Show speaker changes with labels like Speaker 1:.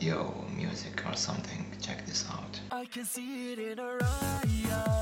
Speaker 1: Yo, music or something, check this out.
Speaker 2: I can see it in her eyes.